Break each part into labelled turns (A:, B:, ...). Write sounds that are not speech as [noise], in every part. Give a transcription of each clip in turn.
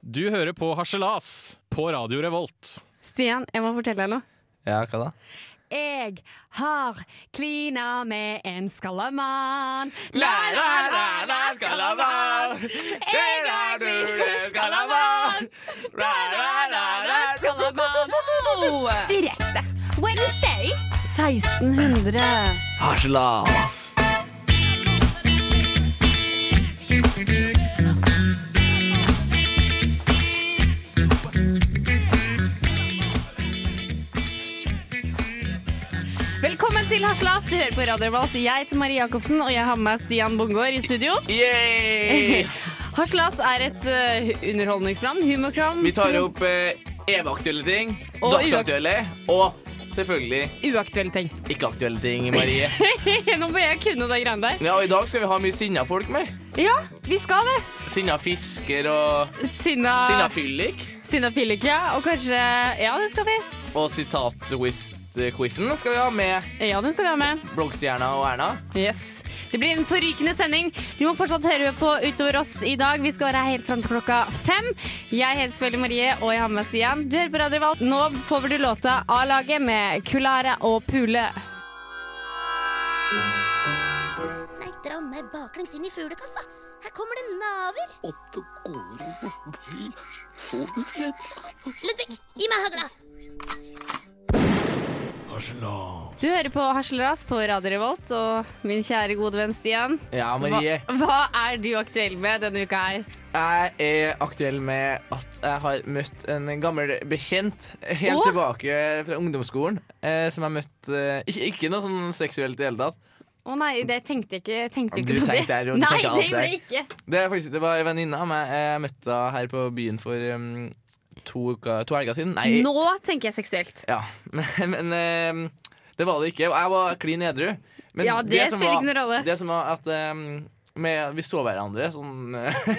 A: Du hører på Harselas på Radio Revolt.
B: Stian, jeg må fortelle deg noe.
C: Ja, hva da?
B: Jeg har klina med en skallemann. Jeg har klina med skallemann. Skallemann. Direkte. Wednesday. 1600.
C: Harselas!
B: Velkommen til Haslas. Du hører på Radio Revolt. Jeg heter Marie Jacobsen, og jeg har med meg Stian Bongård i studio. [laughs]
C: Yay!
B: Haslas er et eh, underholdningsprogram, humorprogram,
C: Vi tar opp eh, evig-aktuelle ting,
B: Og
C: dagsaktuelle og selvfølgelig
B: uaktuelle ting.
C: ikke-aktuelle ting, Marie.
B: Nå må jeg kunne de greiene der.
C: Ja, og I dag skal vi ha mye sinna folk med.
B: Ja, vi skal det.
C: Sinna fisker og
B: Sinna,
C: sinna fyllik.
B: Sinna Fillik, ja. Og kanskje Ja, den skal vi.
C: Og sitat-quizen skal vi ha med
B: Ja, den skal vi ha med.
C: bloggstjerna og Erna.
B: Yes. Det blir en forrykende sending. Du må fortsatt høre på utover oss i dag. Vi skal være her helt fram til klokka fem. Jeg heter selvfølgelig Marie, og jeg har med meg Stian. Du hører på Radio Valg. Nå får du låta A-laget med Kulara og Pule.
D: Nei, dra meg baklengs inn i fuglekassa. Her kommer det naver. Ludvig, gi meg hagla.
B: Du hører på Harselras på Radio Revolt, og min kjære gode venn Stian.
C: Ja,
B: Hva,
C: Marie.
B: hva er du aktuell med denne uka her?
C: Jeg er aktuell med at jeg har møtt en gammel bekjent helt
B: Åh.
C: tilbake fra ungdomsskolen. Eh, som jeg møtte eh, ikke, ikke noe sånn seksuelt i det hele tatt.
B: Å nei, det tenkte jeg ikke, tenkte
C: Ja,
B: jeg
C: du
B: ikke på det.
C: tenkte her, og du
B: nei,
C: tenkte alt
B: det gjorde jeg ikke.
C: Det, er faktisk, det var en venninne av meg. Jeg møtte henne her på byen for em, to, uka, to helger siden. Nei,
B: Nå tenker jeg seksuelt.
C: ja. [laughs] men, men em, det var det ikke. Og Jeg var klin edru. Men
B: Ja, det
C: som
B: spiller
C: var-
B: ikke noen rolle.
C: Det som var at em, med, vi så hverandre sånn [laughs]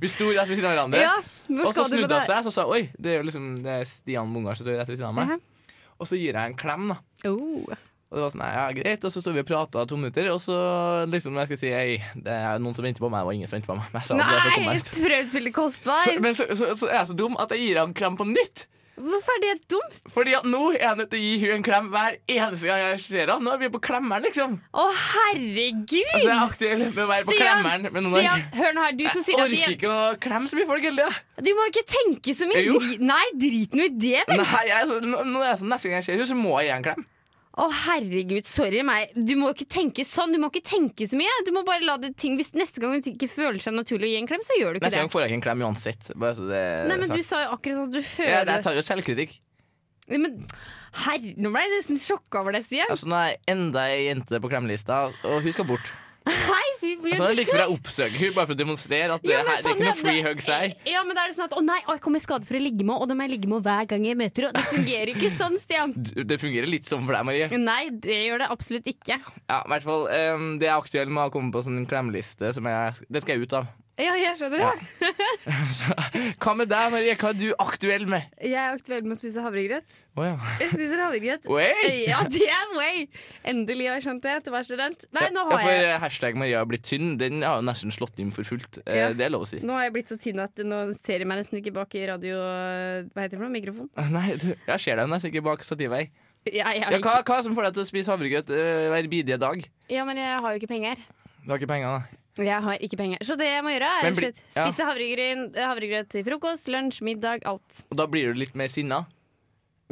C: Vi sto rett ved siden av hverandre.
B: Ja, hvor
C: Og så
B: skal du med
C: snudde
B: det?
C: hun seg og sa hun, oi, det er jo liksom det er Stian Bungar som står rett ved siden av meg.
B: Jaha.
C: Og så gir jeg en klem, da.
B: Oh.
C: Og det var sånn, «Nei, ja, greit. Og så sto vi og prata to minutter, og så liksom jeg skulle si hei, det er noen som venter på meg. Det var ingen som ventet på meg. [laughs] Men jeg sa det for
B: Nei,
C: sommeren.
B: prøvespillet
C: Så,
B: kostbar.
C: men så, så, så er jeg så dum at jeg gir henne en klem på nytt.
B: Hvorfor er det dumt?
C: Fordi at nå er jeg nødt til å gi henne en klem hver eneste gang jeg ser henne. Nå er vi på klemmeren, liksom.
B: Å, herregud!
C: Altså, jeg er aktuell med å være på klemmeren med noen
B: Stian,
C: [laughs] andre.
B: hør nå her, du som sier
C: Jeg
B: at
C: orker
B: de,
C: ikke å klemme så mye folk hele tida.
B: Du må ikke tenke så mye.
C: Jo.
B: Dri, nei, drit nå i det, vel.
C: Nei, jeg, er så- nå, nå er jeg sånn, neste gang jeg ser henne, så må jeg gi henne en klem.
B: Å, herregud, sorry meg. Du må ikke tenke sånn. Du må ikke tenke så mye. Du må bare la det ting Hvis neste gang du ikke føler seg naturlig å gi en klem, så gjør du ikke
C: Neste gang
B: det.
C: får jeg ikke en klem uansett. Bare så det er
B: Nei, men
C: sagt.
B: du sa jo akkurat sånn at du
C: Eh, ja,
B: føler
C: Jeg tar jo selvkritikk.
B: Nei, Men herre, nå ble jeg nesten sjokka over det, Stian.
C: Altså, nå er jeg enda ei jente på klemmelista, og hun skal bort.
B: Nei, fy, fy,
C: Altså, det er like før jeg oppsøker hun bare for å demonstrere at det,
B: Ja, men
C: her, det er
B: sånn
C: ikke
B: er
C: noe free hugs her.
B: Ja, men da er det sånn at Å nei, å, jeg kom i skade for å ligge med, og det må jeg ligge med hver gang jeg møter henne. Det fungerer ikke sånn, Stian.
C: Du- Det fungerer litt sånn for deg, Marie.
B: Nei, det gjør det absolutt ikke.
C: Ja, i hvert fall, em, Det er aktuelt med å komme på sånn klemmeliste. Som jeg, det skal jeg ut av.
B: Ja, jeg skjønner
C: det. Hva med deg, Marie? Hva er du aktuell med?
B: Jeg er aktuell med å spise havregrøt.
C: Å ja.
B: Jeg spiser havregrøt. Eh,
C: Oi!
B: Ja, det er way! Endelig har jeg skjønt det etter å være student. Nei, nå
C: Ja,
B: har
C: for
B: jeg,
C: eh, hashtag Maria har blitt tynn. Den har jo nesten slått inn for fullt. Eh,
B: Ja.
C: Det er lov å si. [laughs]
B: nå har jeg blitt så tynn at nå ser jeg meg nesten ikke bak i radio... eh, Hva heter det for noe? Mikrofon?
C: Nei, du, jeg ser deg nesten ikke bak stativet. jeg.
B: Jeg, jeg
C: Ja,
B: har
C: hva,
B: ikke,
C: hva som får deg til å spise havregrøt eh, hver bidige dag?
B: ja, men jeg har jo ikke penger.
C: Du har ikke penger, da.
B: Jeg har ikke penger. Så det jeg må gjøre, er rett
C: Men
B: og
C: bli-
B: slett
C: ja.
B: spise havregryn, eh, havregrøt til frokost, lunsj, middag, alt.
C: Og da blir du litt mer sinna.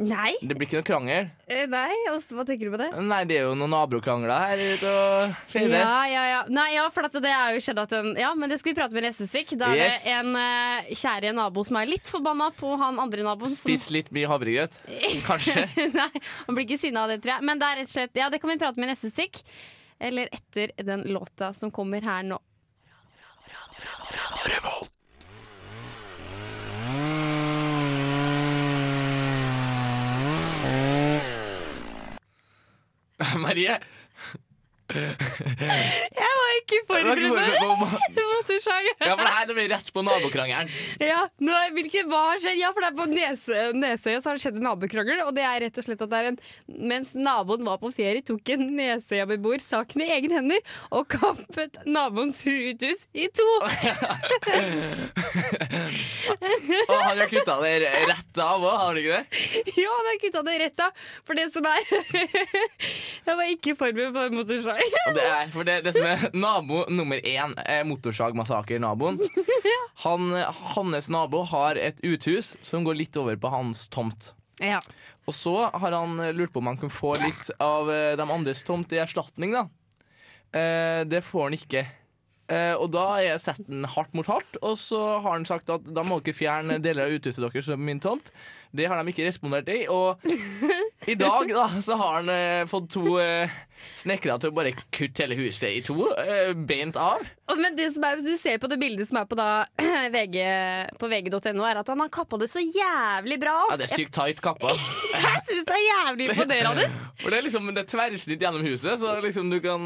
B: Nei!
C: Det blir ikke noe krangel.
B: Eh, Nei, Ås, hva tenker du på det?
C: Nei, det er jo noen nabokrangler her ute og skjer.
B: Ja, ja, ja. Nei, ja, for at det er jo skjedd at en Ja, men det skal vi prate med neste stikk. Da er
C: Yes.
B: det en eh, kjære nabo som er litt forbanna på han andre naboen. som-
C: Spis litt mye havregrøt, kanskje.
B: [laughs] Nei, han blir ikke sinna av det, tror jeg. Men det er rett og slett Ja, det kan vi prate med i neste stikk. Eller etter den låta som kommer her nå.
C: Marie,
B: Jeg var ikke
C: du har ikke forberedt
B: forberedt!
C: på om-
B: [laughs] Motorsag.
C: ja, for det her blir rett på nabokrangelen.
B: Ja, nå er, hvilket, hva har skjedd? Ja, for det er på Nese, Nesøya så har det skjedd en nabokrangel. Og det er rett og slett at det er en Mens naboen var på ferie, tok en Nesøya-beboer saken i egne hender og kappet naboens hurtus i to.
C: Han har kutta det rett av òg, har han ikke det?
B: Ja, han har kutta det rett av. For det som er [laughs] Jeg var ikke forberedt på en motorsag.
C: Og Det er, for det, det som er nabo nummer én, eh, motorsagmassaker-naboen han, eh, Hans nabo har et uthus som går litt over på hans tomt.
B: Ja.
C: Og så har han eh, lurt på om han kan få litt av eh, de andres tomt i erstatning, da. Eh, det får han ikke. Eh, og da har jeg sett den hardt mot hardt, og så har han sagt at da må dere fjerne deler av uthuset deres som min tomt. Det har de ikke respondert i, og i dag da, så har han eh, fått to eh, snekkere til å bare kutte hele huset i to, eh, beint av.
B: Og- Men det som er, hvis du ser på det bildet som er på, da, [clears throat] VG, på vg.no, er at han har kappa det så jævlig bra
C: Ja,
B: av.
C: det er sykt tight kappa.
B: Jeg syns det er jævlig imponerende.
C: [laughs] For det er liksom det er tverrsnitt gjennom huset, så liksom du kan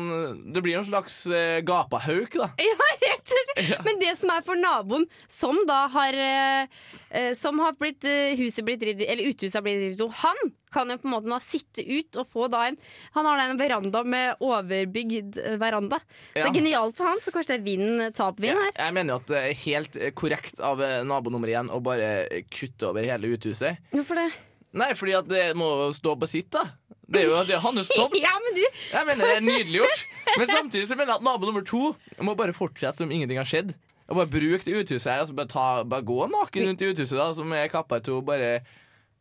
C: Det blir en slags eh, gapahauk, da.
B: [laughs] Ja, rett og slett. Men det som er for naboen, som da har eh, eh, Som har blitt eh, huset blitt revet, Eller uthuset har blitt revet om, han kan jo på en måte nå sitte ut og få da en Han har da en veranda med overbygd eh, veranda. Det
C: Ja.
B: er genialt for han, så kanskje det er vinden, tapvind her.
C: Jeg mener jo at det er helt eh, korrekt av eh, nabo nummer én å bare eh, kutte over hele uthuset.
B: Hvorfor
C: [laughs]
B: det?
C: Nei, fordi at det må jo stå på sitt, da. Det er jo det er hans tomt.
B: [laughs] Ja, men du
C: Jeg mener det er nydelig gjort. Men samtidig så mener jeg at nabo nummer to må bare fortsette som ingenting har skjedd. Og bare bruke det uthuset her, og så bare, ta, bare gå naken rundt i uthuset, da, som er kappa i to. Bare,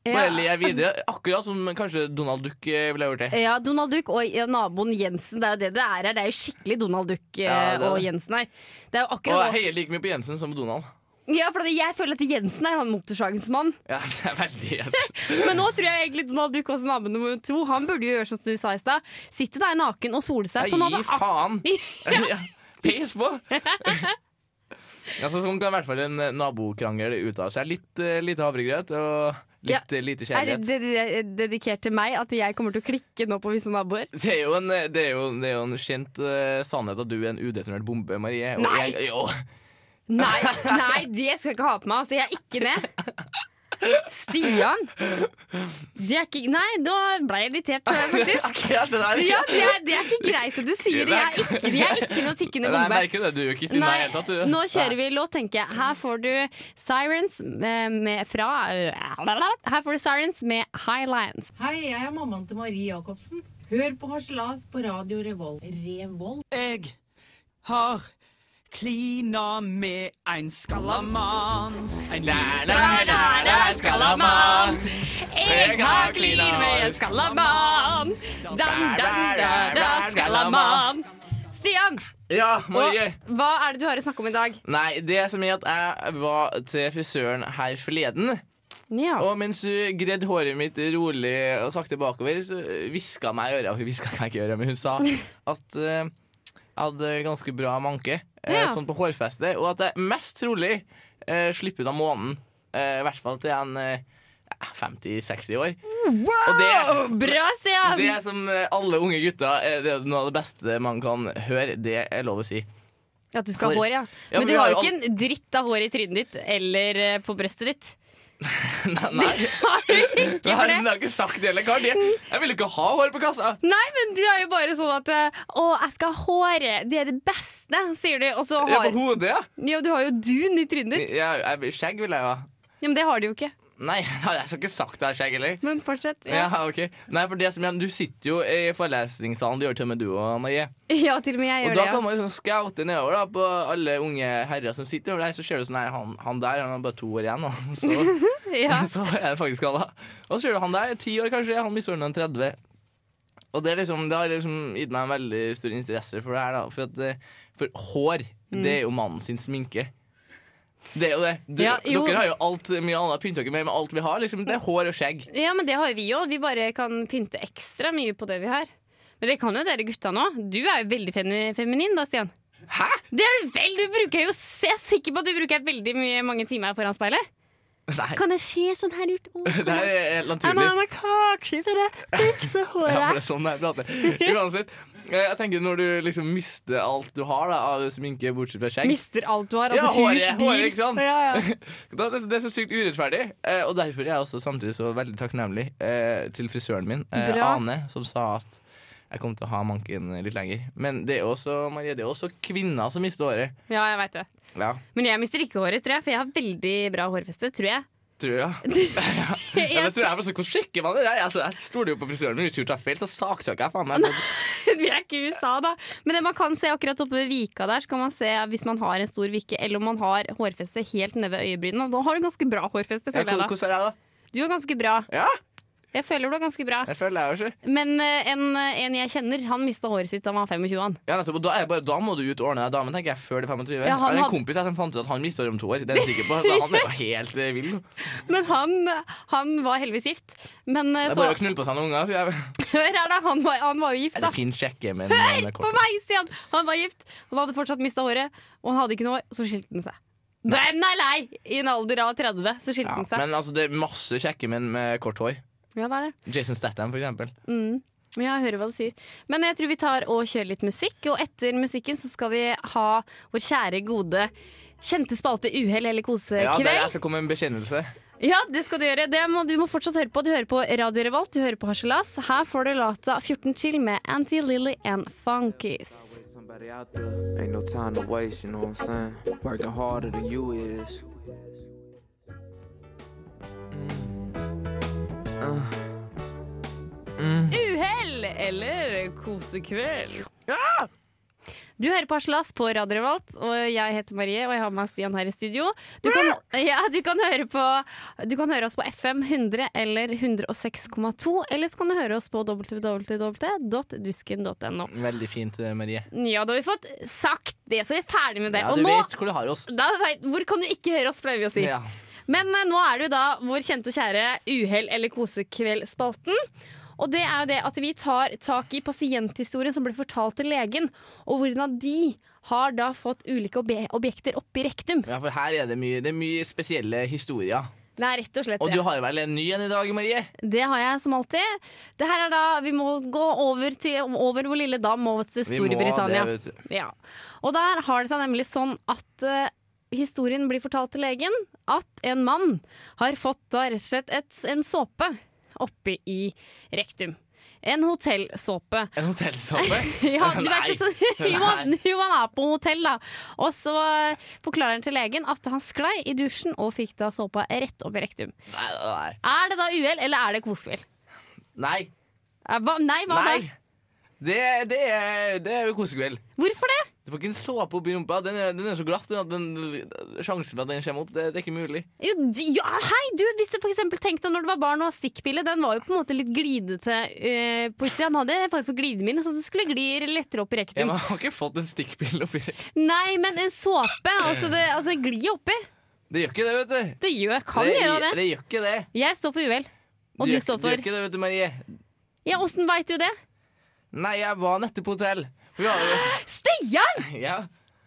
C: bare le videre. Akkurat som kanskje Donald Duck eh, ville ha gjort det.
B: Ja, Donald Duck og ja, naboen Jensen. Det er jo det det er her. Det er jo skikkelig Donald Duck eh,
C: Ja, det er
B: og
C: det.
B: Jensen her. Det er jo
C: Og
B: akkurat
C: jeg heier like mye på Jensen som på Donald.
B: Ja, for at jeg føler at Jensen er han motorsagens mann.
C: Ja, [laughs] det er veldig
B: Men nå tror jeg egentlig Donald Duck også nabo nummer to. Han burde jo gjøre som du sa i stad. Sitte der naken og sole seg. Sånn
C: Nei,
B: hadde
C: gi faen! [laughs] Ja. Pis på! [laughs] ja, så sånn kan i hvert fall en nabokrangel ut av seg. Litt eh, lite havregrøt og litt eh, lite
B: er det
C: kjærlighet.
B: det- det er dedikert til meg at jeg kommer til å klikke nå på visse naboer?
C: Det er, jo en, eh, det, er jo, det er jo en kjent eh, sannhet at du er en udetonert bombe, Marie. Og
B: Nei!
C: Jeg, jo.
B: Nei, nei, det skal jeg ikke ha på meg. Altså, jeg er ikke det. Stian! Det er ikke Nei, nå ble jeg irritert, faktisk.
C: Jeg skjønner det. sånn
B: Ja, det er, det er ikke greit at du sier det. Jeg er ikke, jeg er ikke noe tikkende
C: Nei, jeg
B: bombe.
C: merker det. Du er jo ikke sinna i det hele tatt. du.
B: nå kjører
C: Nei.
B: vi låt, tenker jeg. Her får du Sirens eh, med, fra Her får du Sirens med Highlines.
E: Hei, jeg er mammaen til Marie Jacobsen. Hør på Harselas på radio Revolt. Revolt?
F: Jeg har klina med en skallamann. En
B: Jeg har klin med en skallamann. Dan, dan, da, da, skallamann. Stian,
C: Ja, Marie!
B: hva er det du har å snakke om i dag?
C: Nei, det som er at jeg var til frisøren her forleden.
B: Ja.
C: Og mens hun gredde håret mitt rolig og sakte bakover, så hviska meg i øret. Hun hviska meg ikke i øret, men hun sa
B: [laughs]
C: at eh, jeg hadde ganske bra manke eh,
B: Ja.
C: sånn på hårfestet, og at jeg mest trolig eh, slipper ut av månen. eh, I hvert fall til en eh, 50-60 år. Og det,
B: Bra, Stian!
C: det som eh, alle unge gutter eh, Det er noe av det beste man kan høre. Det er lov å si.
B: At du skal ha
C: Hår.
B: hår, ja.
C: Ja,
B: Men
C: men
B: du
C: vi
B: har
C: har
B: jo
C: jo
B: ikke en dritt av hår i trynet ditt eller eh, på brøstet ditt.
C: [laughs] Nei, nei.
B: [laughs] Har du ikke
C: Nei,
B: for det?
C: men jeg har ikke sagt det heller, Kar. Det- Jeg vil ikke ha hår på kassa.
B: Nei, men du er jo bare sånn at eh, Å, jeg skal ha håret. Det er det beste, sier du. Og så
C: Jeg er
B: har
C: på hodet, ja.
B: Ja, du har jo dun i trynet ditt.
C: Jeg, jeg, skjegg vil jeg ha.
B: Ja, men det har du jo ikke.
C: Nei, [laughs] nei, jeg skal ikke sagt det er skjegg heller.
B: Men fortsett. Ja,
C: Ja, ok Nei, for det som er, Du sitter jo i forelesningssalen, det gjør til og med du og Marie.
B: ja til og med jeg
C: Og
B: gjør
C: da
B: det. Ja.
C: kan man liksom scoute nedover da på alle unge herrer som sitter over der. Så ser du sånn her, han, han der han har bare to år igjen, og så,
B: [laughs]
C: [laughs]
B: Ja.
C: så er det faktisk skalla. Og så ser du han der, ti år kanskje, han misordna 30. Og det, er liksom, det har liksom gitt meg en veldig stor interesse for det her, da. For, at, eh, for hår,
B: Mm.
C: det er jo mannen sin sminke. Det er jo det. Du,
B: Ja, jo.
C: Dere har jo alt mye annet, pynter dere med med alt vi har. Liksom. Det er hår og skjegg.
B: ja, men det har jo vi òg. Vi bare kan pynte ekstra mye på det vi har. Men det kan jo dere gutta nå. Du er jo veldig femi- feminin da, Stian.
C: Hæ? [laughs]
B: Det er du vel! Du bruker jo Jeg er sikker på at du bruker veldig mye, mange timer foran speilet.
C: Nei.
B: Kan jeg se sånn her ut? Å, kan
C: [laughs] Det
B: jeg-
C: er helt
B: Jeg må
C: naturlig.
B: ha meg kake til det fikse
C: [laughs] Ja, for det
B: håret.
C: er sånn jeg
B: [laughs]
C: prater. Uansett, eh, jeg tenker når du liksom mister alt du har da, av sminke, bortsett fra skjegg
B: Mister alt du har.
C: Ja,
B: Altså
C: håret,
B: hus, bil.
C: håret, ikke sant?
B: Ja, ja.
C: [laughs] da, det, det er så sykt urettferdig. Eh, og derfor er jeg også samtidig så veldig takknemlig eh, til frisøren min, eh,
B: Bra.
C: Ane, som sa at jeg kom til å ha manken litt lenger. Men det er jo også, Marie, det er også kvinner som mister håret.
B: ja, jeg veit det.
C: Ja.
B: Men jeg mister ikke håret, tror jeg, for jeg har veldig bra hårfeste. Tror jeg.
C: tror jeg. [laughs] Ja, det tror jeg, altså, Hvordan sjekker man det? der? Altså, jeg stoler jo på frisøren min. Hvis hun tar feil, så saksøker jeg
B: [laughs]
C: faen meg.
B: Vi er ikke i USA, da. Men det man kan se akkurat oppe ved vika der, så kan man se hvis man har en stor vikke, eller om man har hårfeste helt nede ved øyebrynene. Da har du ganske bra hårfeste,
C: Ja,
B: føler jeg da.
C: hvordan er jeg, da?
B: Du er ganske bra.
C: Ja,
B: Jeg føler du er ganske bra.
C: det føler jeg jo ikke.
B: Men eh, en, en jeg kjenner, han mista håret sitt da han var 25. han.
C: Ja, nettopp, og da, er jeg bare, da må du ut og ordne deg damen, tenker jeg, før det er 25.
B: Ja,
C: jeg
B: han
C: har en
B: hadde-
C: kompis jeg, som fant ut at han mister det om to år. Det er jeg sikker på. Så han er jo helt eh, vill.
B: Men han, han var heldigvis gift. Men eh,
C: Det er
B: så
C: bare å knulle på seg noen unger. tror jeg.
B: [laughs] Hør her, da. Han var, han var jo gift,
C: Det
B: da.
C: er fint sjekke, men eh,
B: Hør på meg, Stian! Han var gift. Han hadde fortsatt mista håret, og han hadde ikke noe hår, så skilte han seg. Den er lei! I en alder av 30 så skilte
C: Ja,
B: han seg.
C: men altså, det er masse kjekke menn med kort hår.
B: Ja, det er det.
C: Jason Statham, for eksempel.
B: Mm. Men Jeg hører hva du sier. Men jeg tror vi tar og kjører litt musikk. Og etter musikken så skal vi ha vår kjære, gode kjente spalte Uhell eller
C: Ja, der jeg
B: kosekveld.
C: skal komme med en bekjennelse.
B: Ja, det skal du gjøre. Det må, du må fortsatt høre på. Du hører på Radio Revolt, du hører på Harselas. Her får du låta 14 chill med Anti-Lilly and Funkies.
G: Somebody out there. Ain't no time to waste, you know what I'm saying? Working harder than you is.
B: Uhell eller kosekveld?
C: Ah!
B: Du hører på Aslas på Radio Revolt, og jeg heter Marie, og jeg har med meg Stian her i studio. Du kan, ja, du kan, høre, på, du kan høre oss på FM 100 eller 106,2, eller så kan du høre oss på www.dusken.no.
C: Veldig fint, eh, Marie.
B: Ja, da har vi fått sagt det, så vi er ferdig med det.
C: Ja,
B: og
C: du
B: nå
C: vet hvor du har oss.
B: da, vet- Hvor kan du ikke høre oss, pleier vi å si.
C: Ja.
B: Men eh, nå er det jo da vår kjente og kjære Uhell eller kosekveld-spalten. Og det er jo det at vi tar tak i pasienthistorien som ble fortalt til legen, og hvordan de har da fått ulike obje objekter oppi rektum.
C: ja, for her er det mye, det er mye spesielle historier.
B: Det er rett og slett
C: Og
B: det.
C: du har vel en ny en i dag, Marie?
B: Det har jeg som alltid. Det her er da Vi må gå over, til, over vår lille dam og til
C: Vi må
B: Storbritannia.
C: det, vet du.
B: Ja. Og der har det seg nemlig sånn at eh, historien blir fortalt til legen at en mann har fått da rett og slett et, en såpe oppe i rektum. En hotellsåpe. [laughs]
C: En hotellsåpe?
B: Ja, du vet, jo, så, [laughs] jo, han,
C: Nei.
B: jo, han er på hotell, da. Og så eh, forklarer han til legen at han sklei i dusjen og fikk da såpa rett opp i rektum.
C: Nei, nei.
B: Er det da uhell, eller er det kosekveld?
C: Nei.
B: Eh, Hva, nei, hva
C: nei.
B: da?
C: Det, det, er, det er jo kosekveld.
B: Hvorfor det?
C: Du får ikke en såpe opp i rumpa. Den er, den er så glass den at den, sjansen for at den kommer opp, det, det er ikke mulig.
B: Jo, d- ja, hei, du, hvis du for eksempel tenkte når du var barn og stikkpille, den var jo på en måte litt glidete eh, på utsida. Den hadde en form for glidemine, sånn at du skulle gli lettere opp i
C: Ja,
B: rektum.
C: men jeg har ikke fått en stikkpille oppi rektum.
B: Nei, men en såpe, altså det, altså det glir oppi.
C: Det gjør ikke det, vet du.
B: Det gjør, kan gjøre det.
C: Det gjør ikke det.
B: Jeg står for uhell. Og
C: Det
B: du
C: gjør-
B: står
C: Det gjør
B: for
C: ikke det, vet du, Marie.
B: Ja, åssen veit du det?
C: Nei, jeg var nettopp på hotell. Vi har jo [laughs]
B: Stian!
C: ja.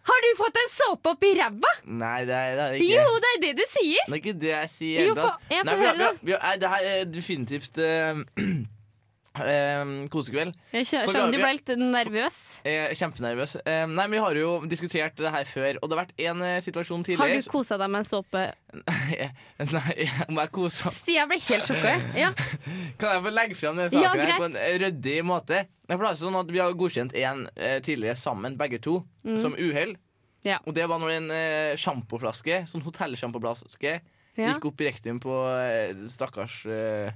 B: Har du fått en såpe oppi ræva?
C: Nei, det er, det er ikke
B: Jo, det er det du sier!
C: Det er ikke det jeg sier.
B: Jo,
C: helt
B: få- jeg får
C: Nei, vi
B: høre
C: har- vi har-
B: det.
C: vi har- Nei, det her er definitivt eh, [clears throat] eh, kosekveld.
B: Jeg skjø-
C: For
B: skjønner du
C: lager-
B: ble litt nervøs.
C: Jeg er kjempenervøs. Eh, nei, men Vi har jo diskutert det her før, og det har vært en eh, situasjon
B: Har
C: tidligere
B: du kosa deg med en såpe?
C: [laughs] Nei, om jeg koser
B: Stian ble helt sjokka.
C: [laughs]
B: Ja.
C: Kan jeg få legge frem denne
B: Ja,
C: saken her på
B: greit.
C: en ryddig måte? Nei, for det er sånn at Vi har godkjent én tidligere sammen, begge to,
B: Mm.
C: som uhell.
B: Ja.
C: Og det var når en eh, sjampoflaske, sånn hotellsjampoflaske,
B: Ja.
C: gikk opp i rektum på eh, stakkars eh,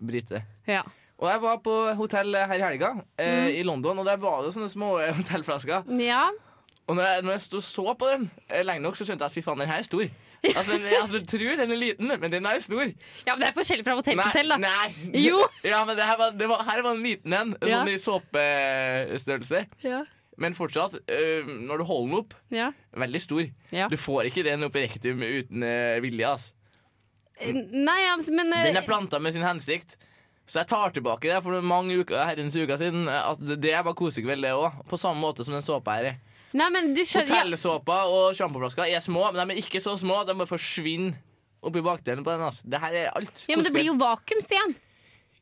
C: brite.
B: ja.
C: Og jeg var på hotell her i helga, eh,
B: Mm.
C: i London, og der var det sånne små eh, hotellflasker.
B: ja.
C: Og når jeg, når jeg stod og så på den eh, lenge nok, så skjønte jeg at fy faen, den her er stor. Altså, den, altså, du tror den er liten, men den er jo stor.
B: Ja, men det er forskjellig fra hotell til hotell, da.
C: nei.
B: Jo.
C: [laughs] Ja, men det her var, det var, her var en liten en,
B: Ja.
C: sånn i såpestørrelse.
B: Ja.
C: Men fortsatt, eh, når du holder den opp,
B: Ja.
C: veldig stor.
B: Ja.
C: Du får ikke den opp i rektum uten eh, vilje, altså.
B: Nei, ja, men eh,
C: Den er planta med sin hensikt. Så jeg tar tilbake det for mange uker, herrens uker siden. At det var kosekveld, det òg. På samme måte som den såpa her. er.
B: Nei, men du skjønner ja,
C: Hotellsåpa og sjampoflasker er små, men de er ikke så små. De bare forsvinner oppi bakdelen på den. altså Det her er alt.
B: ja, men det
C: kosekveld.
B: blir jo vakuum, Stian.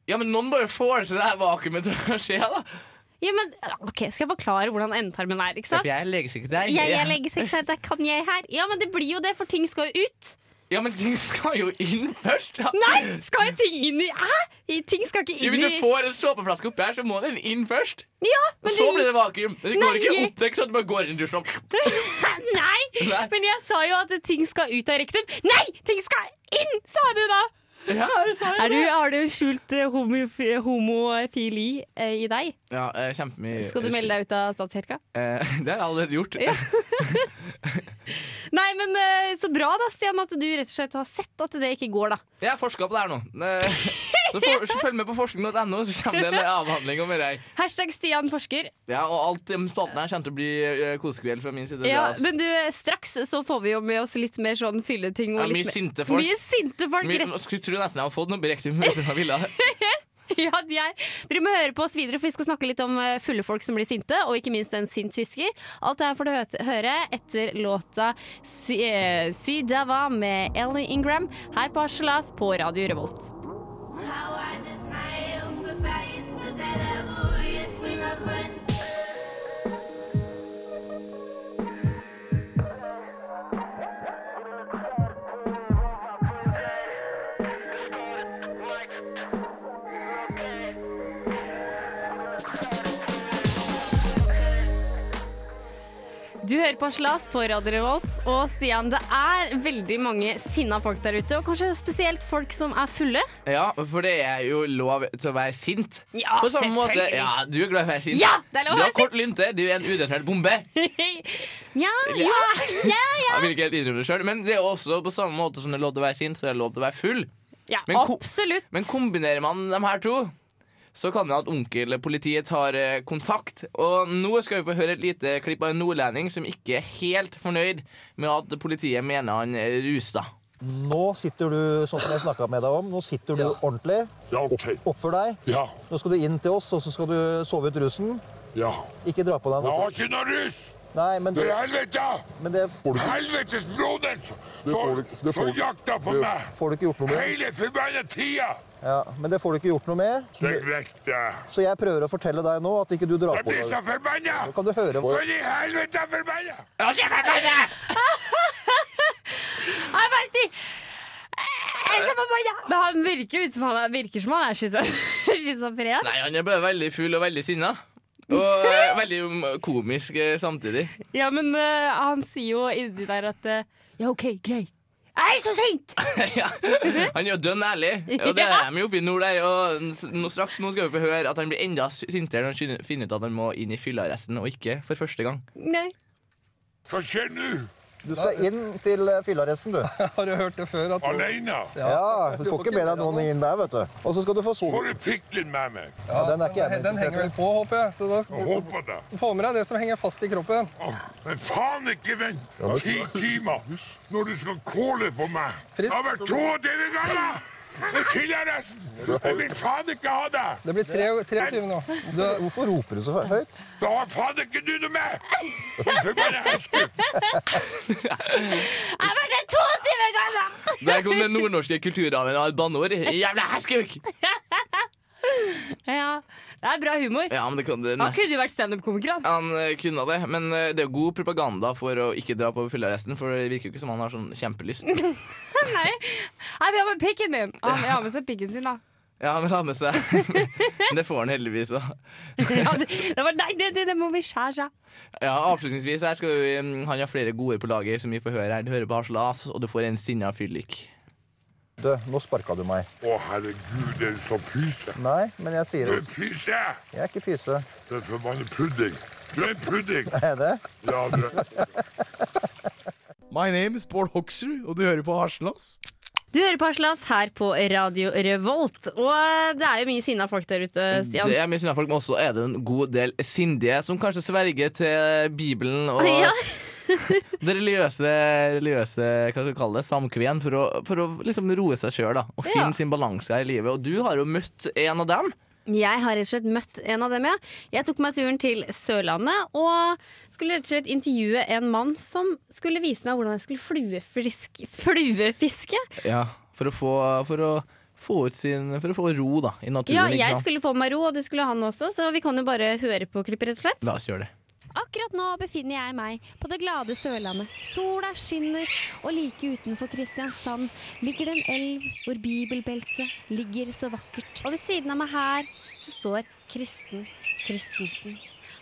C: ja, men noen bare får det her vakuumet til å skje, da.
B: Ja, men, ok, Skal jeg forklare hvordan endetarmen er? ikke sant?
C: jeg er legesekretær.
B: Jeg, jeg legger seg her, der kan jeg her. Ja, men det blir jo det, for ting skal jo ut.
C: Ja, men ting skal jo inn først. da.
B: Nei! Skal jo ting inn i Hæ? I- Ting skal ikke
C: Ja,
B: inn
C: Hvis
B: i
C: du får en såpeflaske oppi her, så må den inn først.
B: Ja,
C: Og
B: men
C: så blir
B: du
C: det vakuum. Det går
B: Nei,
C: ikke
B: jeg-
C: opp. Det er ikke sånn at du bare går inn i dusjen og
B: [laughs] Nei!
C: Nei.
B: Men jeg sa jo at ting skal ut av rektum. Nei! Ting skal inn, sa jeg
C: Ja, jeg sa jo
B: Er du, har du skjult eh, homofi- homofili eh, i deg?
C: ja, eh, kjempemye
B: Skal du melde deg ut av statskirka?
C: Eh, [laughs] det har jeg allerede gjort.
B: Ja. Nei, men eh, så bra da, Stian, at du rett og slett har sett at det ikke går, da.
C: Jeg har forska på det her nå. Eh, Så, for, så følg med på forskning.no, så
B: [laughs]
C: kommer det en avhandling om dette.
B: Hashtag Stian forsker.
C: Ja, og alt i den spalten her kommer til å bli eh, kosekveld fra min side.
B: Ja,
C: Det er-
B: men du, eh, straks så får vi jo med oss litt mer sånn fylleting. og
C: Ja, mye
B: litt mer-
C: sinte folk.
B: Mye sinte folk,
C: Mye-
B: rett [laughs]
C: Jeg skulle tro nesten jeg hadde fått noe direkte med denne villa.
B: Ja, de er. Dere må høre på oss videre, for vi skal snakke litt om eh, fulle folk som blir sinte, og ikke minst en sint fisker. Alt det her får du hø- høre etter låta Si, eh, si Dava med Ellie Ingram her på Harselas på Radio Revolt. Du hører på Harselas på Radio Revolt, og Stian, det er veldig mange sinna folk der ute, og kanskje spesielt folk som er fulle.
C: Ja, for det er jo lov til å være sint.
B: Ja,
C: På samme måte,
B: selvfølgelig.
C: ja, du er glad i å være sint.
B: Ja, det er lov å
C: du
B: være
C: har kort lynte, du er en udetonert bombe.
B: ja, ja, ja, ja.
C: Jeg vil ikke helt innrømme det selv, men det er også på samme måte som det er lov til å være sint, så er det lov til å være full.
B: ja
C: Men ko-
B: absolutt.
C: Men kombinerer man de her to, så kan det at onkel politiet tar eh, kontakt. Og nå skal vi få høre et lite klipp av en nordlending som ikke er helt fornøyd med at politiet mener han eh, er rusa.
H: Nå sitter du, sånn som jeg snakket med deg om, nå sitter du ordentlig.
I: Ja, ok.
H: Oppfør deg.
I: Ja,
H: Nå skal du inn til oss, og så skal du sove ut russen.
I: ja.
H: Ikke dra på deg
I: Jeg
H: noe.
I: har ikke noe rus!
H: Nei, men
I: For
H: det,
I: helvete!
H: men det får, du,
I: Helvetes broder
H: får
I: som
H: du- det får
I: som
H: du-
I: jakta på meg!
H: får du ikke gjort noe med.
I: Hele forbanna tida!
H: Ja, men det får du ikke gjort noe med.
I: Det er greit, det.
H: Så jeg prøver å fortelle deg nå at ikke du drar
I: Jeg
H: på
I: blir så
H: deg.
I: forbanna!
H: Nå kan du høre hva...
I: For i helvete forbanna!
B: Jeg vet ikke. Jeg ser på meg, ja. Men han virker ut som han er, virker som han er schizo- [laughs] schizofren.
C: Nei, han er bare veldig full og veldig sinna. Og eh, veldig mm, komisk eh, samtidig. [laughs]
B: Ja, men eh, han sier jo inni der at eh, Ja, OK, greit. Jeg er så sint!
C: Ja. Han er jo dønn ærlig, og det er de jo oppe i nord der. Og s- nå straks nå skal vi få høre at han blir enda sintere når han skyn- finner ut at han må inn i fyllearresten, og ikke for første gang.
B: Nei.
I: Hva skjer nå?
H: Du skal inn til eh,
J: [laughs]
H: fyllearresten, du.
I: Aleine?
H: Ja, du får ikke med deg noen inn der, vet du. Og så skal du få sove.
I: Får du piklen med meg?
H: Ja, den er ikke jeg med interessert i.
J: vel på, håper jeg. Så da
I: Jeg håper det.
J: får med deg det som henger fast i kroppen.
I: Åh, Men faen ikke vent ti timer når du skal kåle på meg! Jeg har vært 22 ganger! Og fyllearresten! Jeg vil faen ikke ha deg!
J: Det blir 23 nå.
H: Hvorfor roper du så høyt?
I: Da har faen ikke du noe med! Din forbanna hestgutt!
B: Jeg har vært her to timer, Ganna!
C: Der kom den nordnorske kulturarven av et banneord. Jævla hestkuk!
B: Ja, det er bra humor.
C: Ja, men det kunne
B: Han
C: nesten
B: kunne jo vært standup-komiker, han.
C: han eh, kunne det, men eh, det er jo god propaganda for å ikke dra på fyllearresten, for det virker jo ikke som han har sånn kjempelyst.
B: Nei, jeg vil ha med pikken min. Ah, jeg har med seg pikken sin, da.
C: Ja, men ha med seg [laughs] Men det får han heldigvis òg.
B: [laughs] Ja, det, det var nei, det, det, det må vi skjære seg.
C: Ja, avslutningsvis her skal vi mm, Han har flere gode på lager som vi får høre her. Du hører på Harselas, og du får en sinna fyllik.
H: Du, nå sparket du meg.
I: Å, herregud, er du så pyse?
H: Nei, men jeg sier
I: Du
H: det.
I: er pyse!
H: Jeg er ikke pyse.
I: Du er forbanna pudding. Du er pudding!
H: [laughs] Er jeg det?
I: Ja, du er
K: My name is Bård Hoksrud, og du hører på Harselas.
B: Du hører på Aslas her på Radio Revolt, og eh, det er jo mye sinna folk der ute, Stian.
C: Det
B: [laughs]
C: er mye sinna folk, men også er det en god del sindige som kanskje sverger til Bibelen og
B: [laughs] Ja.
C: det religiøse, religiøse hva skal vi kalle det, samkven for å, for å liksom roe seg sjøl og
B: Ja.
C: finne sin balanse her i livet. Og du har jo møtt en av dem.
B: Jeg har rett og slett møtt en av dem, ja. Jeg tok meg turen til Sørlandet og skulle rett og slett intervjue en mann som skulle vise meg hvordan jeg skulle fluefrisk, fluefiske.
C: Ja, for å få, for å få ut sin For å få ro da, i naturen.
B: Ja,
C: ikke
B: jeg
C: sant?
B: skulle få meg ro, og det skulle han også, så vi kan jo bare høre på klippet, rett og slett.
C: La oss gjøre det.
B: Akkurat nå befinner jeg meg på det glade Sørlandet. Sola skinner, og like utenfor Kristiansand ligger det en elv hvor bibelbeltet ligger så vakkert. Og ved siden av meg her så står Kristen Kristensen.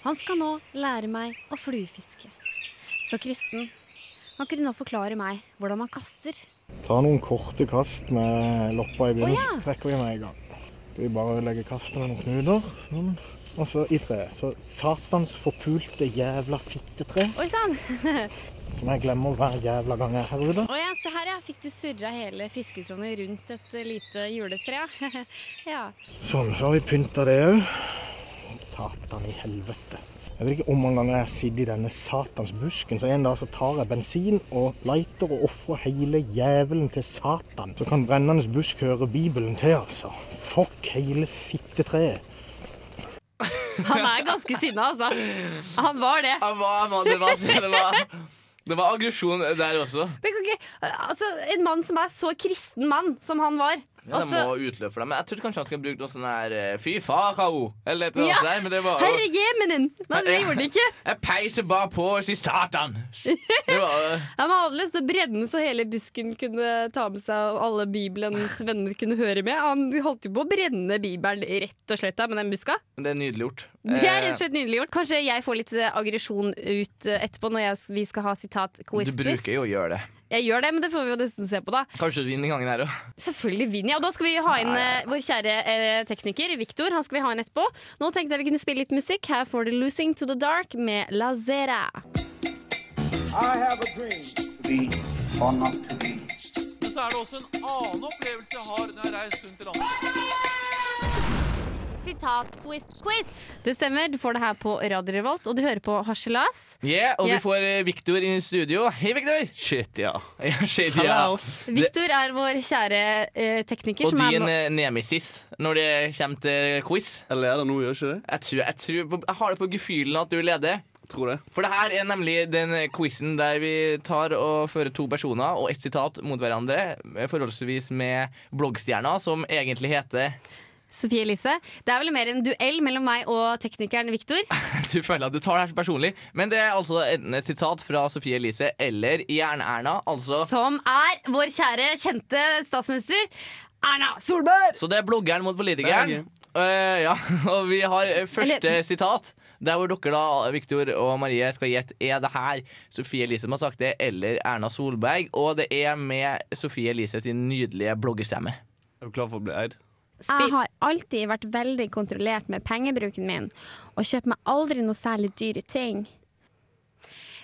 B: Han skal nå lære meg å fluefiske. Så Kristen, kan ikke du nå forklare meg hvordan man kaster?
L: Ta noen korte kast med loppa i begynnelsen, trekker vi med en gang. Vi bare legger kastet med noen knuter, sånn. Og så i treet. Så satans forpulte jævla fittetre,
B: Oi sann!
L: som jeg glemmer hver jævla gang jeg er her ute.
B: Å ja, se her ja. Fikk du surra hele fisketronet rundt et eh, lite juletre? ja. [laughs] ja.
L: Sånn, så har vi pynta det òg. Satan i helvete. Jeg vet ikke om mange ganger jeg har sittet i denne satans busken, så en dag så tar jeg bensin og lighter og ofrer hele jævelen til satan. Så kan brennende busk høre Bibelen til, altså. Fuck hele fittetreet.
B: Han er ganske sinna, altså. Han var det.
C: Han var, det var, det var, det var aggresjon der også.
B: Det kan ikke, altså, en mann som er så kristen mann som han var.
C: Ja, det
B: altså,
C: må utløpe for dem. Men jeg trodde kanskje han skulle bruke noe sånn her eh, Fy farao! Eller et eller annet.
B: Ja,
C: der, men det var jo-
B: Herre Jemenen! Men det gjorde det ikke.
C: Jeg peiser bare på og sier satan! Det var eh, jo-
B: Han hadde lyst til å brenne så hele busken kunne ta med seg, og alle Bibelens venner kunne høre med. Han holdt jo på å brenne Bibelen rett og slett da, med den buska.
C: Det er nydelig gjort.
B: Det er rett og
C: Eh,
B: slett nydelig gjort. Kanskje jeg får litt eh, aggresjon ut eh, etterpå når jeg, vi skal ha
C: Du
B: sitat-quiz-quiz.
C: bruker jo å gjøre det.
B: Jeg gjør det, men det får vi jo nesten se på, da.
C: Kanskje du vinner gangen her òg.
B: Selvfølgelig vinner jeg. Og da skal vi ha inn eh, vår kjære eh, tekniker Viktor. Han skal vi ha inn etterpå. Nå tenkte jeg vi kunne spille litt musikk. Her får du 'Losing to the Dark' med La Zera.
M: I have a dream. To be or not to be.
N: Men så er det også en annen opplevelse jeg har når jeg reiser rundt i landet.
B: Sitat-twist-quiz. Det stemmer. Du får det her på Radio Revolt, og du hører på Harselas.
C: Yeah, og
B: Ja.
C: vi får eh, Victor inn i studio. Hei, Victor! Shit, [laughs] ja. Shit, ja. Det-
B: Viktor er vår kjære eh, tekniker.
C: Og
B: som er
C: din
B: nå-
C: eh, nemesis når det kommer til quiz. Eller er det nå, gjør ikke det? Jeg, tror, jeg, tror, jeg har det på gefühlen at du leder. Tror det. For det her er nemlig den quizen der vi tar og fører to personer og ett sitat mot hverandre, forholdsvis med bloggstjerna, som egentlig heter [laughs]
B: Sofie Elise. Det er vel mer en duell mellom meg og teknikeren Viktor.
C: Du føler at du tar det her så personlig, men det er altså enten et sitat fra Sofie Elise eller Jern-Erna, altså
B: Som er vår kjære, kjente statsminister Erna Solberg.
C: Så det er bloggeren mot politikeren. Eh, ja, [laughs] og vi har eh, første
B: Eller-
C: sitat. Der hvor dere, da, Victor og Marie, skal gjette er det her Sofie Elise som har sagt det, eller Erna Solberg. Og det er med Sofie Elise sin nydelige bloggestemme. Er du klar for å bli eid?
B: Jeg har alltid vært veldig kontrollert med pengebruken min, og kjøper meg aldri noe særlig dyre ting.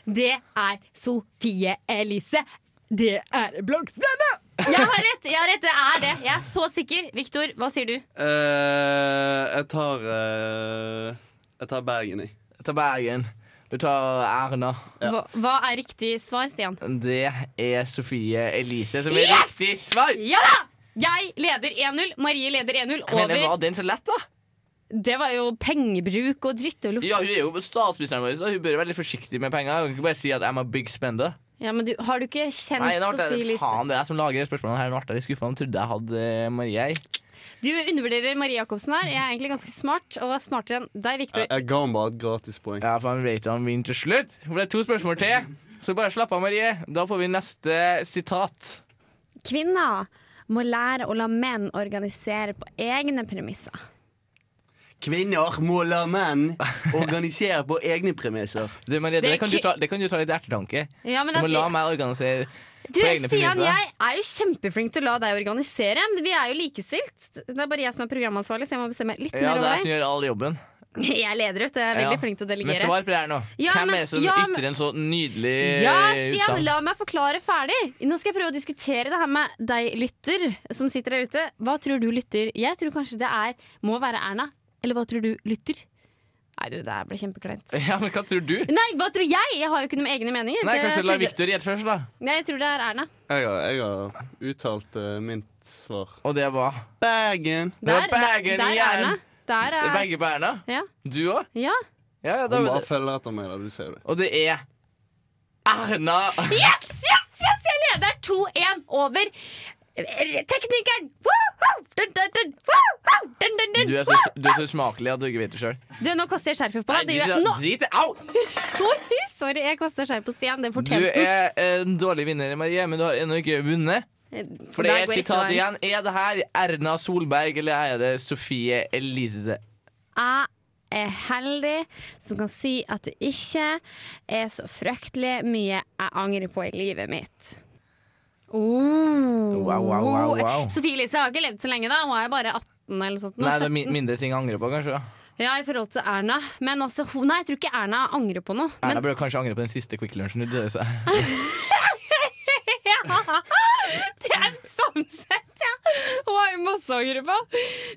B: Det er Sofie Elise. Det er bloggstemme! Jeg har rett! jeg har rett, Det er det. Jeg er så sikker. Viktor, hva sier du?
O: Eh, jeg tar eh, Jeg tar Bergen, jeg.
C: Jeg tar Bergen. Du tar Erna.
B: Hva, hva er riktig svar, Stian?
C: Det er Sofie Elise som er
B: Yes!
C: riktig svar!
B: Ja da! Jeg leder 1-0. Marie leder 1-0.
C: Men det var
B: Over.
C: den så lett, da.
B: Det var jo pengebruk og dritt og lukt.
C: Ja, Hun er jo statsministeren vår, så hun bør være litt forsiktig med penger. Hun kan ikke bare si at I'm a big spender.
B: Ja, men du, har du ikke kjent
C: Nei, det ble,
B: Sofie Elise?
C: faen, det er jeg som lager de spørsmålene her. Nå ble jeg litt skuffa. Jeg trodde jeg hadde eh, Marie. jeg.
B: Du undervurderer Marie Jacobsen her. Jeg er egentlig ganske smart, og smartere enn deg, Viktor.
C: ga ham bare et gratispoeng. Ja, for han vet jo han vinner til slutt. Det ble to spørsmål til. Så bare slapp av, Marie. Da får vi neste sitat.
B: Kvinner må lære å la menn organisere på egne premisser.
O: Kvinner må la menn organisere på egne premisser.
C: Du, Marie,
B: Det er
C: det, kan du
B: ki-
C: ta, det kan du ta litt ettertanke.
B: Ja, men
C: du må
B: at-
C: la meg organisere
B: Du,
C: på egne
B: Stian,
C: premisser.
B: jeg er jo kjempeflink til å la deg organisere. Men vi er jo likestilt. Det er bare jeg som er programansvarlig, så jeg må bestemme litt mer
C: Ja, det er jeg
B: over
C: som
B: deg.
C: gjør all jobben.
B: [laughs] Jeg leder ut. Jeg er veldig
C: Ja.
B: flink til å
C: Men
B: delegere.
C: svar på det her nå.
B: Ja,
C: Hvem
B: men-
C: er det som
B: ja, men-
C: ytrer en så nydelig
B: Ja,
C: eh,
B: Stian,
C: utsagn?
B: la meg forklare ferdig. Nå skal jeg prøve å diskutere det her med deg lytter som sitter der ute. Hva tror du lytter? Jeg tror kanskje det er må være Erna. Eller hva tror du lytter? Nei, du, det her ble kjempekleint.
C: [laughs] Ja, men hva tror du?
B: Nei, hva tror jeg? Jeg har jo ikke noen egne meninger.
O: Nei,
B: Det
O: kanskje la
B: trodde-
O: Victor gjette først, da.
B: Nei, jeg tror det er Erna.
O: Jeg har, jeg har uttalt eh, mitt svar.
C: Og det var?
O: Bergen.
B: Der, der, der er Erna. Der
C: Det er
B: er
C: Begge på Erna?
B: Ja.
C: Du òg?
B: ja.
C: Ja, ja,
O: Du
C: da,
O: bare følger etter meg, da. Du ser jo det.
C: og det er Erna
B: Yes, yes, yes! Jeg leder 2-1 over teknikeren! Woohoo! Dun, dun, dun! Woohoo! Dun, dun, dun!
C: Du er, så, du er så smakelig at du ikke vet det sjøl.
B: Du, nå kaster jeg skjerfet på deg. Det gjør jeg nå.
C: Drit i Au!
B: Oi, sorry, jeg kasta skjerf på Stian. Det
C: Du
B: fortjente den.
C: er en dårlig vinner, Marie, men du har ennå ikke vunnet. For det
B: Der
C: er et
B: går
C: sitat
B: rett
C: igjen. Er det her Erna Solberg, eller er det Sofie Elise?
B: Jeg er heldig som kan si at det ikke er så fryktelig mye jeg angrer på i livet mitt. Oh.
C: Wow, wow, wow, wow.
B: Sofie Elise har ikke levd så lenge, da. Hun er jo bare 18 eller sånt. nå,
C: Nei, det er mi-
B: 17.
C: mindre ting jeg angrer på, kanskje. da.
B: Ja, i forhold til Erna. Men altså, hun, nei, jeg tror ikke Erna angrer på noe.
C: Erna burde kanskje angre på den siste Quick Lunchen. Det døde seg.
B: [laughs] ja, det er sånn sett, ja. Hun har jo masse å angre på.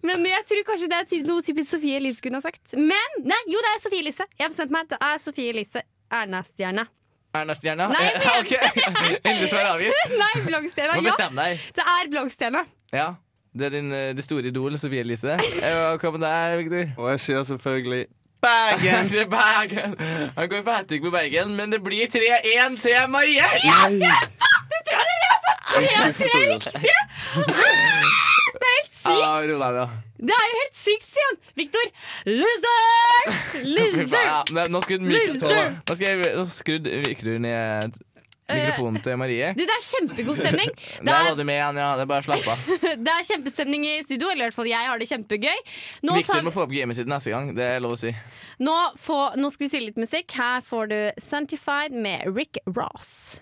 B: Men jeg tror kanskje det er typ, noe typisk Sofie Elise kunne ha sagt. Men nei, jo, det er Sofie Elise. Jeg har bestemt meg. Det er Sofie Elise Erna-stjerne.
C: Erna-stjerna?
B: Nei,
C: Eh, [laughs] ok. [laughs] Endelig svar avgitt.
B: nei, Bloggstjerna.
C: Må
B: Ja,
C: bestemme deg.
B: det er Bloggstjerna.
C: Ja. Det er din eh, det store idol, Sofie Elise. Eh, Hva med deg, Victor?
O: Og jeg sier selvfølgelig
C: Bergen! Bergen. Han går for hat trick på Bergen, men det blir 3-1 til Marie.
B: Du tror det er på tre, tre riktige?! Det er helt sykt!
C: Ja, ro deg, da.
B: Det er jo helt sykt, sier han! Victor,
C: [laughs]
B: loser! Loser!
C: Ja, men nå skrudde myk-
B: Loser!
C: Nå skal jeg- nå skrudde Victor ned mikrofonen til Marie.
B: Du, Eh, det er kjempegod stemning.
C: [laughs] Der
B: Det
C: var du med igjen, ja. Det er bare å slappe av.
B: er, det er kjempestemning i studio, eller i hvert fall jeg har det kjempegøy. Nå,
C: Victor
B: tar,
C: må få opp gamet sitt neste gang. Det er lov å si.
B: nå, få, nå skal vi spille litt musikk. Her får du Santified med Rick Ross.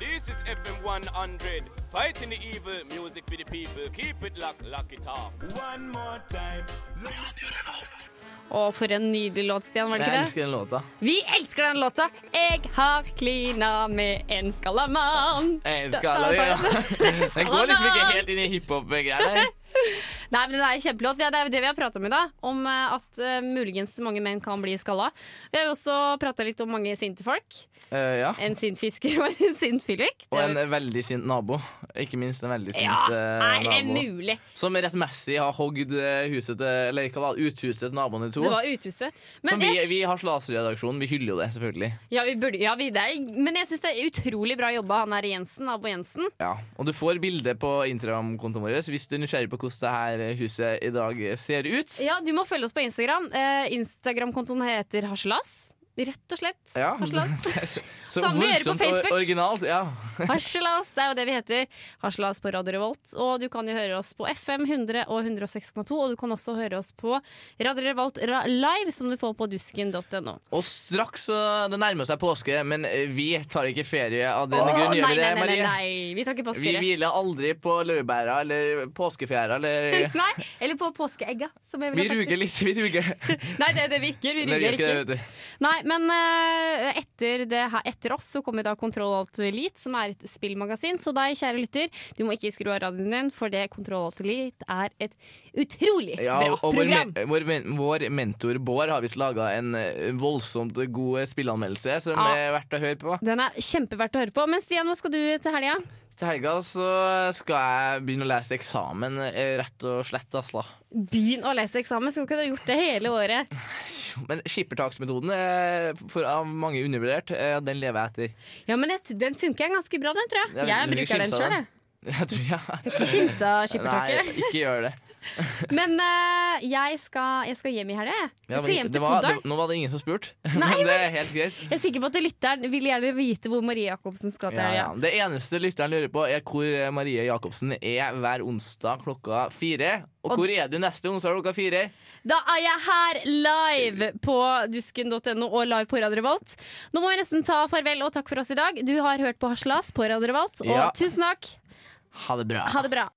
P: This is FM 100, fighting the evil, music for the people. Keep it locked, lock it off. One more time.
B: Å, for en nydelig låt, Stian. Var det ikke
C: Jeg
B: det?
C: elsker den låta.
B: Vi elsker den låta. Jeg har klina med en skallamann.
C: Jeg elsker den, ja. [laughs] Den går liksom ikke helt inn i
B: [laughs]
C: hiphop-greiene.
B: Nei, men Det er kjempelåt. Det er jo det vi har prata om i dag. Om eh, at eh, muligens mange menn kan bli skalla. Vi har jo også prata litt om mange sinte folk.
C: Eh, ja.
B: En sint fisker og en sint fyllik.
C: Og en veldig sint nabo. Ikke minst en veldig sint
B: Ja,
C: eh,
B: er det
C: nabo.
B: mulig?
C: Som rettmessig har hogd eh, huset til, eller hva var det, uthuset til naboene to.
B: Det var uthuset.
C: Som
B: Men
C: vi,
B: jeg-
C: vi har slasredaksjonen. Vi hyller jo det, selvfølgelig.
B: ja, vi burde, ja, vi, det er, men jeg syns det er utrolig bra jobba, han her Jensen, nabo Jensen.
C: Ja. Og du får bilde på Instagram-kontoen vår hvis du er nysgjerrig på hvordan det her huset i dag ser ut.
B: Ja, Du må følge oss på Instagram. Eh, Instagram-kontoen heter Harselas. Rett og slett.
C: Ja. [laughs] Så
B: Samme gjør det på
C: voldsomt or-
B: Facebook.
C: originalt. Ja.
B: [laughs] Harselas, det er jo det vi heter. Harselas på Radio Revolt. Og du kan jo høre oss på FM 100 og 106,2. Og du kan også høre oss på Radio Revolt ra- live, som du får på dusken.no.
C: Og straks så- det nærmer seg påske, men eh, vi tar ikke ferie av den
B: Åh,
C: grunn. Gjør
B: nei,
C: vi det,
B: nei, nei,
C: Marie?
B: nei, vi tar ikke
C: Vi
B: påskeferie.
C: hviler aldri på laurbæra eller påskefjæra eller
B: [laughs]
C: [laughs]
B: Nei, eller på påskeegga, som jeg
C: Vi
B: ville sagt.
C: ruger litt, vi ruger.
B: Nei, det er det vi ikke gjør. Vi
C: Nei, vi
B: ruger
C: gjør ikke
B: ikke.
C: det, vet du.
B: Nei, men eh, etter, det her, etter oss så kommer da Kontroll Alt Elite, som er et spillmagasin. Så deg, kjære lytter, du må ikke skru av radioen din, for det Kontroll Alt Elite er et utrolig
C: Ja,
B: bra
C: og vår,
B: program.
C: men- vår, men- vår mentor Bård har visst laga en eh, voldsomt god spilleanmeldelse som
B: Ja.
C: er verdt å høre på.
B: Den er kjempeverdt å høre på. Men Stian, hva skal du til helga?
C: Til helga så skal jeg begynne å lese eksamen, eh, rett og slett. altså. Asla.
B: Begynn å lese eksamen. Skulle ikke du ha gjort det hele året?
C: Men skippertaksmetoden er for av mange undervurdert. eh, Den lever jeg etter.
B: Ja, men jeg, t- Den funker ganske bra, den, tror jeg. Jeg,
C: Jeg tror ikke
B: bruker den
C: skimsa
B: sjøl,
C: [laughs] den.
B: jeg.
C: Jeg tror jeg
B: Skal ikke kimse av skippertaket.
C: [laughs] Nei, ikke gjør det.
B: Men eh, jeg, skal, jeg skal hjem i helga, jeg.
C: Ja,
B: Jeg skal
C: men
B: hjem
C: det
B: til
C: var,
B: Kodalen.
C: det, nå var det ingen som spurte, [laughs]
B: Nei,
C: men det er helt greit.
B: Jeg er sikker på at lytteren vil gjerne vite hvor Marie Jacobsen skal til
C: Ja, ja.
B: helga.
C: Det eneste lytteren lurer på, er hvor eh, Marie Jacobsen er hver onsdag klokka fire. Og
B: Og-
C: hvor er du neste onsdag klokka fire?
B: Da er jeg her live på dusken.no og live på Radio Revolt. Nå må vi nesten ta farvel og takk for oss i dag. Du har hørt på Haslas på Radio Revolt, og
C: Ja.
B: tusen takk.
C: Ha det bra.
B: Ha det bra.